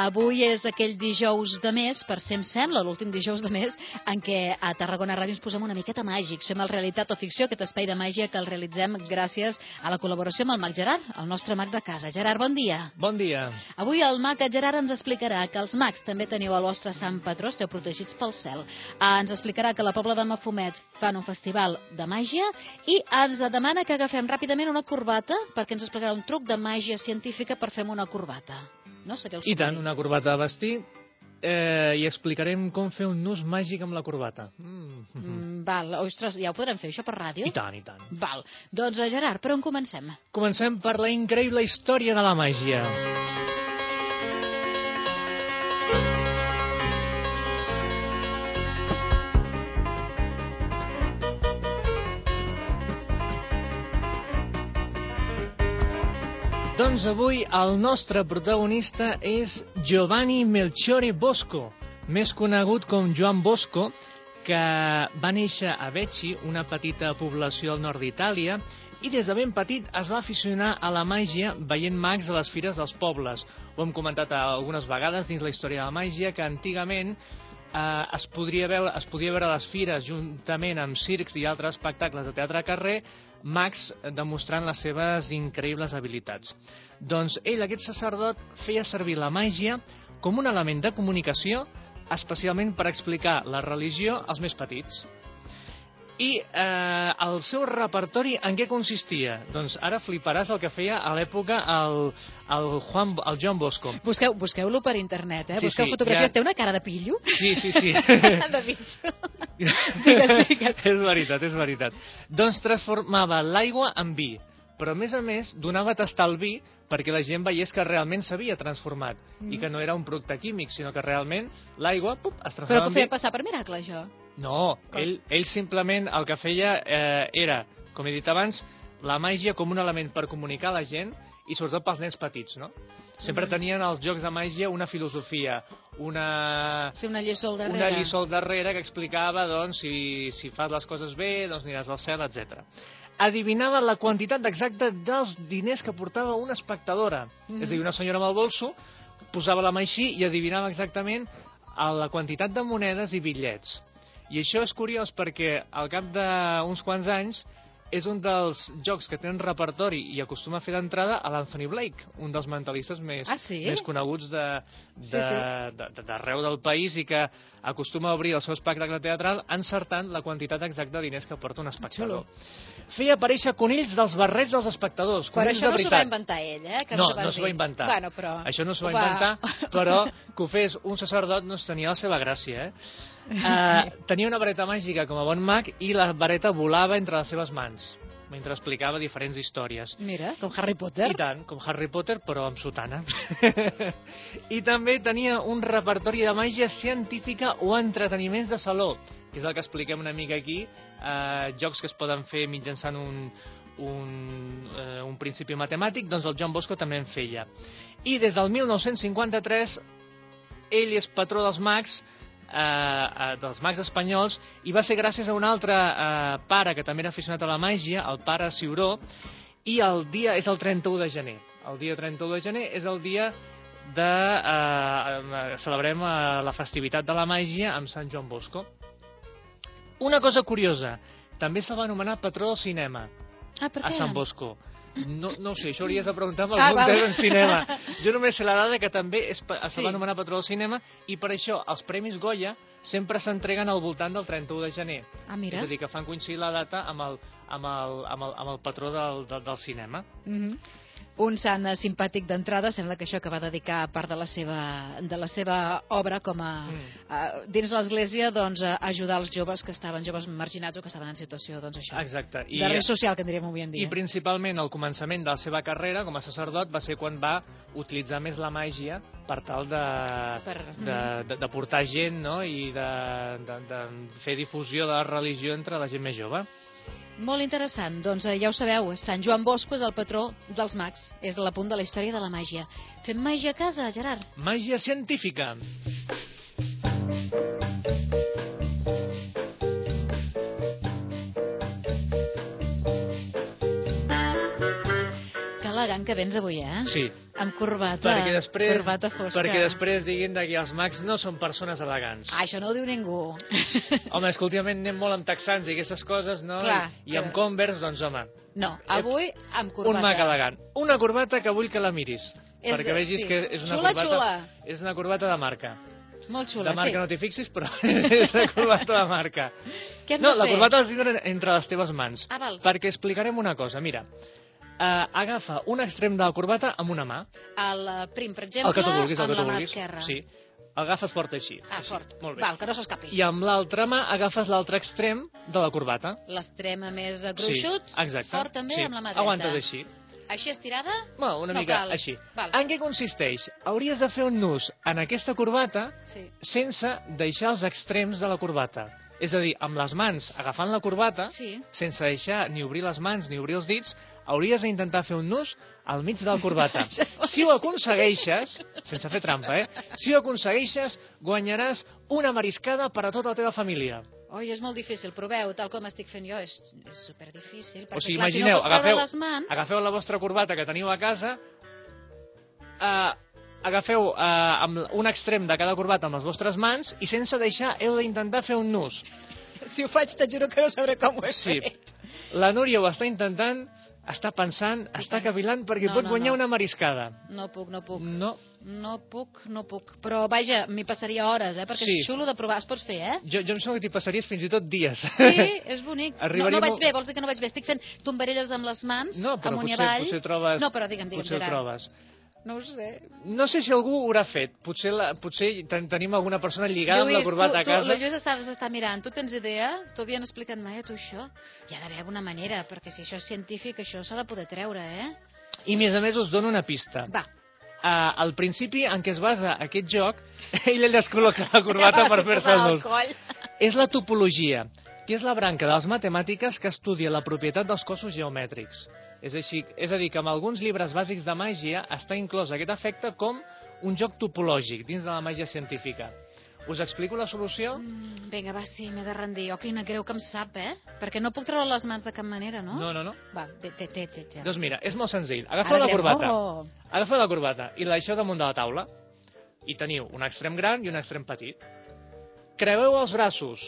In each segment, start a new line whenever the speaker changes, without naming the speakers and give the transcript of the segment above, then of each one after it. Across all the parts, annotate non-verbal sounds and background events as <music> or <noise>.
Avui és aquell dijous de mes, per ser em sembla, l'últim dijous de mes, en què a Tarragona Ràdio ens posem una miqueta màgics. Fem el Realitat o Ficció, aquest espai de màgia que el realitzem gràcies a la col·laboració amb el Mag Gerard, el nostre mag de casa. Gerard, bon dia.
Bon dia.
Avui el mag Gerard ens explicarà que els mags també teniu el vostre Sant Patró, esteu protegits pel cel. Ah, ens explicarà que la Pobla de Mafumet fan un festival de màgia i ens demana que agafem ràpidament una corbata perquè ens explicarà un truc de màgia científica per fer una corbata. No? Seria el
I tant,
suggeriment.
una corbata a vestir eh, i explicarem com fer un nus màgic amb la corbata. Mm.
Mm, val, ostres, ja ho podrem fer, això per ràdio?
I tant, i tant.
Val. Doncs, eh, Gerard, per on comencem?
Comencem per la increïble història de la màgia. Doncs avui el nostre protagonista és Giovanni Melchiore Bosco, més conegut com Joan Bosco, que va néixer a Vecchi, una petita població al nord d'Itàlia, i des de ben petit es va aficionar a la màgia veient mags a les fires dels pobles. Ho hem comentat algunes vegades dins la història de la màgia, que antigament eh, es, podria veure, es podia veure a les fires juntament amb circs i altres espectacles de teatre a carrer, Max demostrant les seves increïbles habilitats. Doncs ell, aquest sacerdot, feia servir la màgia com un element de comunicació, especialment per explicar la religió als més petits. I eh, el seu repertori en què consistia? Doncs ara fliparàs el que feia a l'època el, el, Juan, el Joan Bosco.
Busqueu- Busqueu-lo per internet, eh?
Sí,
Busqueu
sí,
fotografies.
ja-
Té una cara de pillo?
<laughs>
<laughs>
Sí, sí, sí.
de bitxo. Digues, digues.
<laughs> és veritat, és veritat. Doncs transformava l'aigua en vi, però a més a més donava a tastar el vi perquè la gent veiés que realment s'havia transformat i
Mm.
que no era un producte químic, sinó que realment l'aigua pup, es
Però
transformava
que ho
en vi.
feia passar per miracle, això.
No,
Com?
ell, ell simplement el que feia eh, era, com he dit abans, la màgia com un element per comunicar a la gent i sobretot pels nens petits, no? Sempre
Mm.
tenien els jocs de màgia una filosofia, una,
Sí, una lliçó al darrere.
una lliçó al darrere que explicava doncs, si, si fas les coses bé, doncs aniràs al cel, etc. Adivinava la quantitat exacta dels diners que portava una espectadora.
Mhm.
És a dir, una senyora amb el bolso posava la mà així i adivinava exactament a la quantitat de monedes i bitllets. I això és curiós perquè al cap d'uns quants anys és un dels jocs que tenen repertori i acostuma a fer d'entrada a l'Anthony Blake, un dels mentalistes més,
Ah, sí?
més coneguts de, de,
Sí, sí.
de- de- d'arreu del país i que acostuma a obrir el seu espectacle teatral encertant la quantitat exacta de diners que porta un espectador. Feia aparèixer conills dels barrets dels espectadors.
Però
conills
això
de
no s'ho va
veritat.
inventar ell, eh? Que
no,
ens ho vas
no s'ho va
dir.
inventar.
Bueno, però...
Això no s'ho
ho
va
<laughs>
inventar, però que ho fes un sacerdot no es tenia la seva gràcia, eh? Uh, tenia una vareta màgica com a bon mag i la vareta volava entre les seves mans mentre explicava diferents històries.
Mira, com Harry Potter.
I tant, com Harry Potter, però amb sotana. <laughs> I també tenia un repertori de màgia científica o entreteniments de saló, que és el que expliquem una mica aquí, eh, jocs que es poden fer mitjançant un, un, eh, un principi matemàtic, doncs el Joan Bosco també en feia. I des del 1953 ell és patró dels mags, eh, eh, dels mags espanyols, i va ser gràcies a un altre eh, pare que també era aficionat a la màgia, el pare Ciuró, i el dia és el 31 de gener. El dia 31 de gener és el dia de... Eh, eh, celebrem eh, la festivitat de la màgia amb Sant Joan Bosco. Una cosa curiosa, també se'l va anomenar patró del cinema
Ah, per
a
què?
Sant Bosco. No, no ho sé, això hauries de preguntar amb
Ah,
algun
val.
ah, <laughs> en cinema. Jo només sé la dada que també es, pa- se
Sí.
va anomenar patró del cinema i per això els Premis Goya sempre s'entreguen al voltant del 31 de gener.
Ah, mira.
És a dir, que fan coincidir la data amb el, amb el, amb el, amb el patró del, del, del cinema.
Mhm. Un sant eh, simpàtic d'entrada, sembla que això que va dedicar part de la seva, de la seva obra com a,
Mm.
a dins l'església doncs, a ajudar els joves que estaven joves marginats o que estaven en situació doncs, això,
Exacte.
de risc social que en diríem avui en
I
dia.
principalment al començament de la seva carrera com a sacerdot va ser quan va utilitzar més la màgia per tal de,
Per- Mhm.
de, de, de portar gent no? i de, de, de fer difusió de la religió entre la gent més jove.
Molt interessant. Doncs eh, ja ho sabeu, Sant Joan Bosco és el patró dels mags. És la punt de la història de la màgia. Fem màgia a casa, Gerard.
Màgia científica.
Que la elegant que vens avui, eh?
Sí.
Amb corbata,
Perquè després,
corbata fosca.
perquè després diguin de que els mags no són persones elegants.
Ah, això no ho diu ningú. <laughs>
Home, és que últimament anem molt amb texans i aquestes coses, no?
Clar,
I, I amb
però-
Converse, doncs, home,
No, avui amb corbata.
un mag elegant. Una corbata que vull que la miris,
És-
perquè vegis
sí.
que és una
Xula,
corbata...
xula.
És una corbata de marca.
Molt xula,
de marca
sí.
no t'hi fixis, però <laughs> és una corbata de marca.
Què hem
no,
de
la
fer?
corbata has de tindre entre les teves mans.
Ah, val.
Perquè explicarem una cosa, mira. Uh, agafa un extrem de la corbata amb una mà,
El eh, prim, per exemple,
el que tu vulguis, el
amb
que tu
la mà
vulguis.
esquerra.
Sí. Agafes fort així.
Ah,
així.
fort.
Molt bé.
Val, que no s'escapi.
I amb l'altra mà agafes l'altre extrem de la corbata.
L'extrema més eh, gruixut,
sí, exacte.
fort també
sí.
amb la mà dreta.
Aguantes així.
Així estirada?
Bueno, una
No
mica
cal.
així.
Val.
En què consisteix? Hauries de fer un nus en aquesta corbata
Sí.
sense deixar els extrems de la corbata. És a dir, amb les mans agafant la corbata,
Sí.
sense deixar ni obrir les mans ni obrir els dits, hauries d'intentar fer un nus al mig de la
<laughs>
corbata. Si ho aconsegueixes, sense fer trampa, eh? Si ho aconsegueixes, guanyaràs una mariscada per a tota la teva família.
Oi, és molt difícil, proveu, tal com estic fent jo, és, és superdifícil. Perquè,
o sigui,
clar,
imagineu,
si no pots
agafeu,
veure les mans...
agafeu la vostra corbata que teniu a casa, eh, agafeu eh, amb un extrem de cada corbata amb les vostres mans i sense deixar heu d'intentar fer un nus.
<laughs> Si ho faig, te juro que no sabré com ho he
Sí.
fet.
La Núria ho està intentant, està pensant, està cavilant perquè
No,
pot
no,
guanyar
no.
una mariscada.
No puc, no puc.
No,
No puc, no puc. Però, vaja, m'hi passaria hores, eh? Perquè
Sí.
és xulo de provar, es pot fer, eh?
jo, jo em sembla que t'hi passaries fins i tot dies.
Sí, és bonic. no,
Arribaria
no vaig
molt-
bé, vols dir que no vaig bé? Estic fent tombarelles amb les mans,
<laughs> No, però
amunt i
potser,
avall.
potser trobes...
No, però digue'm, digue'm,
potser ho
Gerard.
trobes.
No ho sé.
No sé si algú ho haurà fet. Potser, la, potser ten, tenim alguna persona lligada amb la corbata
tu,
a casa.
Tu, la Lluís estava, s'està mirant. Tu tens idea? T'ho havien explicat mai a tu això? Hi ha d'haver alguna manera, perquè si això és científic, això s'ha de poder treure, eh?
I, a més a més, us dono una pista.
Va,
Ah, al principi en què es basa aquest joc, <laughs> ella descol·loca la corbata per fer-se el
Posar
nus.
coll.
És la topologia, que és la branca de les matemàtiques que estudia la propietat dels cossos geomètrics. És, així, és a dir, que amb alguns llibres bàsics de màgia està inclòs aquest efecte com un joc topològic dins de la màgia científica. Us explico la solució?
Mm, Vinga, va, sí, m'he de rendir. Oh, quina greu que em sap, eh? Perquè no puc treure les mans de cap manera, no?
no, no. no.
Va, té, té, té, té, té.
Doncs mira, és molt senzill.
Ara
Agafeu la
diem,
corbata.
oh.
Agafeu la corbata i la deixeu damunt de la taula. I teniu un extrem gran i un extrem petit. Creueu els braços,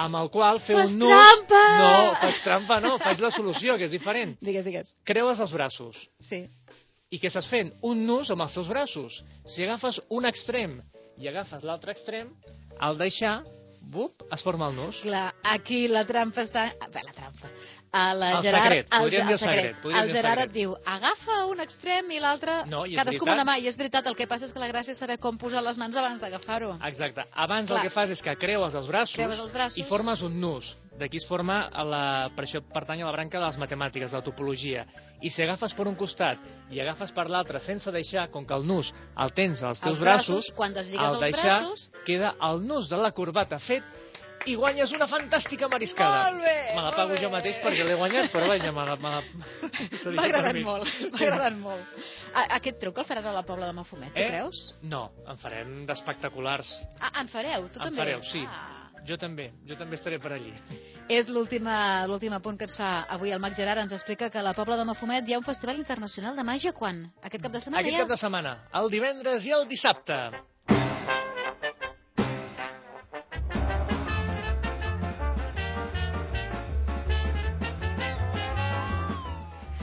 amb el qual feu
Fas
un nus...
trampa!
No, faig trampa no, faig la solució, que és diferent.
Digues, digues.
Creues els braços
Sí.
i que estàs fent un nus amb els teus braços. Si agafes un extrem i agafes l'altre extrem, al deixar, bup, es forma el nus.
Clar, aquí la trampa està... Ah, Bé, la trampa. A la
El
Gerard,
secret, podríem
Ge-
dir el secret, podríem
El
dir el
Gerard et
secret.
diu, agafa un extrem i l'altre...
No, i és
Cadascú amb
veritat.
una mà, i és veritat, el que passa és que la gràcia és saber com posar les mans abans d'agafar-ho.
Exacte. Abans
Clar.
el que fas és que creues els braços,
Creues els braços.
i formes un nus. D'aquí es forma, a la, per això pertany a la branca de les matemàtiques, de la topologia. I si agafes per un costat i agafes per l'altre sense deixar, com que el nus el tens als teus
Els braços, quan desligues
al
els
deixar
braços-
queda el nus de la corbata fet i guanyes una fantàstica mariscada.
Molt bé,
me la
molt
pago
bé.
jo mateix perquè l'he guanyat, però vaja, me la... Me la... <laughs>
M'ha agradat molt, m'ha agradat molt. A, aquest truc el faran a la Pobla de Mafumet, tu
Eh?
creus?
No, en farem d'espectaculars.
Ah, en fareu, tu
en
també?
fareu, sí.
Ah.
Jo també, jo també estaré per allí.
És l'última l'últim apunt que ens fa avui el Mag Gerard. Ens explica que a la Pobla de Mafumet hi ha un festival internacional de màgia quan? Aquest cap de setmana
Aquest
ja?
cap de setmana, el divendres i el dissabte.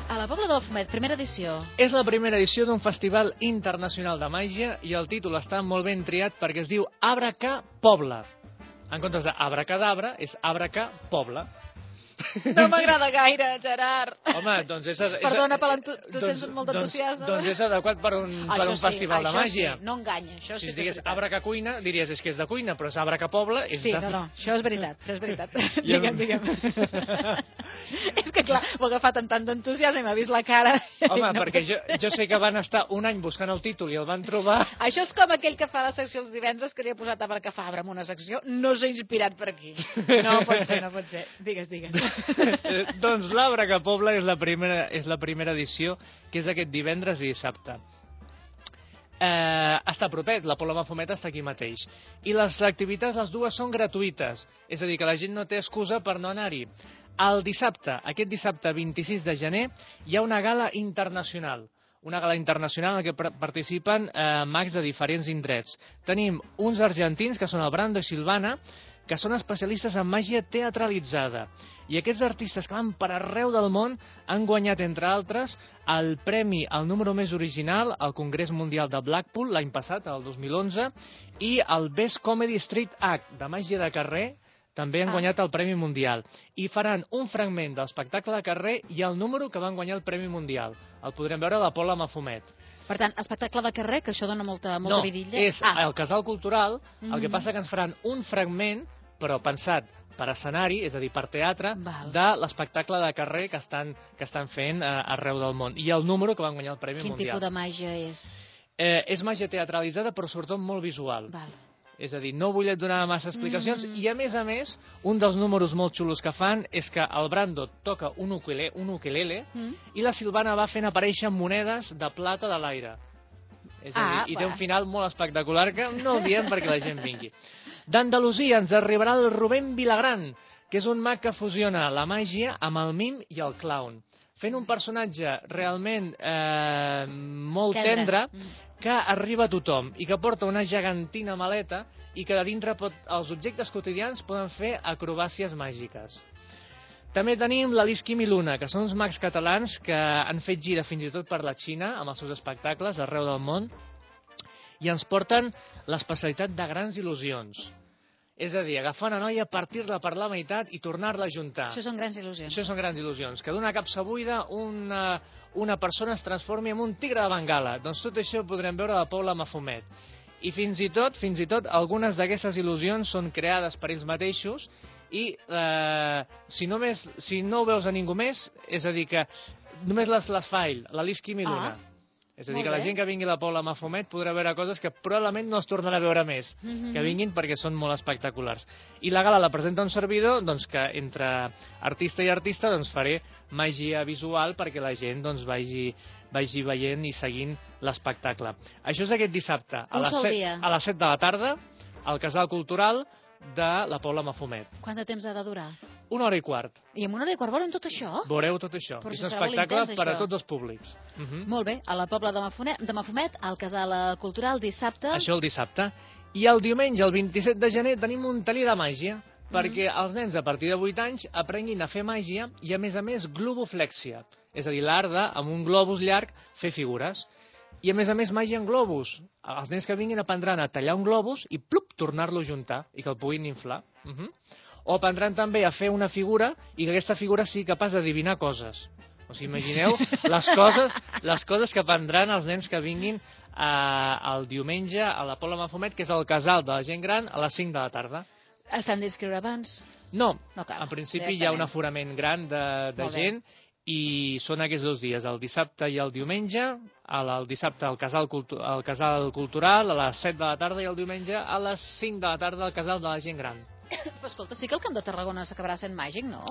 A la Pobla de Mafumet, primera edició.
És la primera edició d'un festival internacional de màgia i el títol està molt ben triat perquè es diu Abraca Pobla. En comptes de Abracadabra, és Abraca Pobla.
No m'agrada gaire, Gerard. <laughs>
Home, doncs és... és
Perdona per l'entu- tu tens molt d'entusiasme.
Doncs, doncs és adequat per un, per un festival
sí,
de màgia.
Sí, no enganya, això sí
si es
que és
digués
veritat.
Abraca Cuina, diries és que és de cuina, però és Abraca Pobla... És
Sí,
de...
no, no, això és veritat, això és <laughs> veritat.
I el-
digue'm, digue'm. <laughs> és que clar, m'ho he agafat amb tant d'entusiasme i m'ha vist la cara. <laughs>
Home,
No
perquè
pot
jo,
ser.
jo sé que van estar un any buscant el títol i el
<laughs>
van trobar...
Això és com aquell que fa la secció els divendres que li ha posat a Barcafabra en una secció, no s'ha inspirat per aquí. No pot ser, no pot ser. Digues, digues.
Eh, <laughs> doncs l'Abra que Pobla és la, primera, és la primera edició, que és aquest divendres i dissabte. eh, està propet, la Pola Mafumet està aquí mateix. I les activitats, les dues, són gratuïtes, és a dir, que la gent no té excusa per no anar-hi. El dissabte, aquest dissabte 26 de gener, hi ha una gala internacional una gala internacional en què par- participen eh, mags de diferents indrets. Tenim uns argentins, que són el Brando i Silvana, que són especialistes en màgia teatralitzada. I aquests artistes que van per arreu del món han guanyat, entre altres, el premi al número més original al Congrés Mundial de Blackpool l'any passat, el 2011, i el Best Comedy Street Act de màgia de carrer, també han
Ah.
guanyat el Premi Mundial. I faran un fragment de l'espectacle de carrer i el número que van guanyar el Premi Mundial. El podrem veure a la Pola Mafumet.
Per tant, espectacle de carrer, que això dona molta, molta
no,
vidilla.
és
ah,
el Casal Cultural, el que
Mhm.
passa que ens faran un fragment, però pensat per escenari, és a dir, per teatre,
Val.
de l'espectacle de carrer que estan, que estan fent eh, arreu del món. I el número que van guanyar el Premi
quin
Mundial.
tipus de màgia és?
Eh, és màgia teatralitzada, però sobretot molt visual.
Val.
És a dir, no volia donar massa explicacions
Mm.
i, a més a més, un dels números molt xulos que fan és que el Brando toca un ukulele, un ukulele
Mm?
i la Silvana va fent aparèixer monedes de plata de l'aire. És a
Ah,
dir, i té
va.
un final molt espectacular que no el diem perquè la gent vingui. D'Andalusia ens arribarà el Rubén Vilagran, que és un mag que fusiona la màgia amb el mim i el clown, fent un personatge realment eh, molt
Tendre.
tendre
Mm.
que arriba a tothom i que porta una gegantina maleta i que de dintre pot, els objectes quotidians poden fer acrobàcies màgiques. També tenim l'Alice Kim i Luna, que són uns mags catalans que han fet gira fins i tot per la Xina amb els seus espectacles arreu del món i ens porten l'especialitat de grans il·lusions. És a dir, agafar una noia, partir-la per la meitat i tornar-la a juntar.
Això són grans il·lusions.
Ah. Això són grans il·lusions. Que d'una capsa buida una, una persona es transformi en un tigre de Bengala. Doncs tot això ho podrem veure a la Paula Mafumet. I fins i tot, fins i tot, algunes d'aquestes il·lusions són creades per ells mateixos i eh, si, només, si no ho veus a ningú més, és a dir que només les, les fa ell, l'Alice Kim i
Ah,
Luna. és a dir,
molt
que la
bé.
gent que vingui a la Paula Mafumet podrà veure coses que probablement no es tornarà a veure més
Mhm.
que vinguin perquè són molt espectaculars. I la gala la presenta un servidor doncs, que entre artista i artista doncs, faré màgia visual perquè la gent doncs, vagi, vagi veient i seguint l'espectacle. Això és aquest dissabte, a
Un
les,
sol
set,
dia.
a les 7 de la tarda, al Casal Cultural de la Paula Mafumet.
Quant de temps ha de durar?
Una hora i quart.
I en una hora i quart volen tot això?
Veureu tot això.
Però
és
si
un
serà molt
espectacle
intens,
per a
això.
tots els públics. Uh -huh.
Molt bé, a la Pobla de Mafumet, de Mafumet al Casal eh, Cultural, dissabte.
Això el dissabte. I el diumenge, el 27 de gener, tenim un taller de màgia perquè els nens a partir de 8 anys aprenguin a fer màgia i, a més a més, globoflexia, és a dir, l'art de, amb un globus llarg, fer figures. I, a més a més, màgia en globus. Els nens que vinguin aprendran a tallar un globus i, plup, tornar-lo a juntar i que el puguin inflar. Uh -huh. O aprendran també a fer una figura i que aquesta figura sigui capaç d'adivinar coses. O sigui,
<laughs>
imagineu les coses, les coses que aprendran els nens que vinguin eh, el diumenge a la Pola Mafumet, que és el casal de la gent gran, a les 5 de la tarda.
S'han d'inscriure abans. <coughs>
No,
No cal,
en principi hi ha un
directament.
aforament gran de, de
Molt bé.
gent i són aquests dos dies, el dissabte i el diumenge, el, el dissabte al casal, cultu al casal Cultural a les 7 de la tarda i el diumenge a les 5 de la tarda al casal de la gent gran.
Però escolta, sí que el Camp de Tarragona s'acabarà sent màgic, no?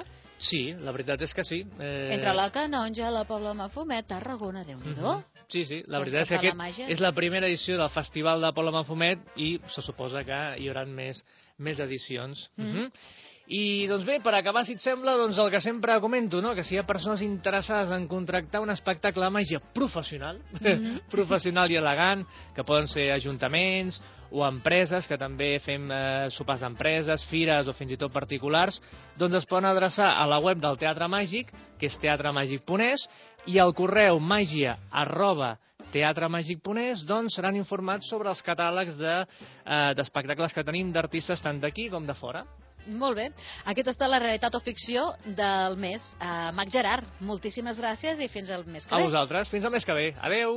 Sí, la veritat és que sí. Eh...
Entre la Canonja, la Pobla de Mafumet, Tarragona, déu nhi
Mhm. Sí, sí, la
Vols
veritat és que
que fa la
aquest
màgia?
és la primera edició del Festival de Pola Manfumet i se suposa que hi haurà més, més edicions. Mm
Mhm.
-hmm. I, doncs bé, per acabar, si et sembla, doncs el que sempre comento, no? que si hi ha persones interessades en contractar un espectacle de màgia professional,
Mhm.
<laughs> professional i elegant, que poden ser ajuntaments o empreses, que també fem eh, sopars d'empreses, fires o fins i tot particulars, doncs es poden adreçar a la web del Teatre Màgic, que és teatremàgic.es, i al correu màgia arroba teatremàgic.es doncs seran informats sobre els catàlegs de, eh, d'espectacles que tenim d'artistes tant d'aquí com de fora. Mhm.
Molt bé. Aquesta està la realitat o ficció del mes. Uh, Mac Gerard, moltíssimes gràcies i fins al mes que
A
ve.
vosaltres, fins al mes que ve. Adeu!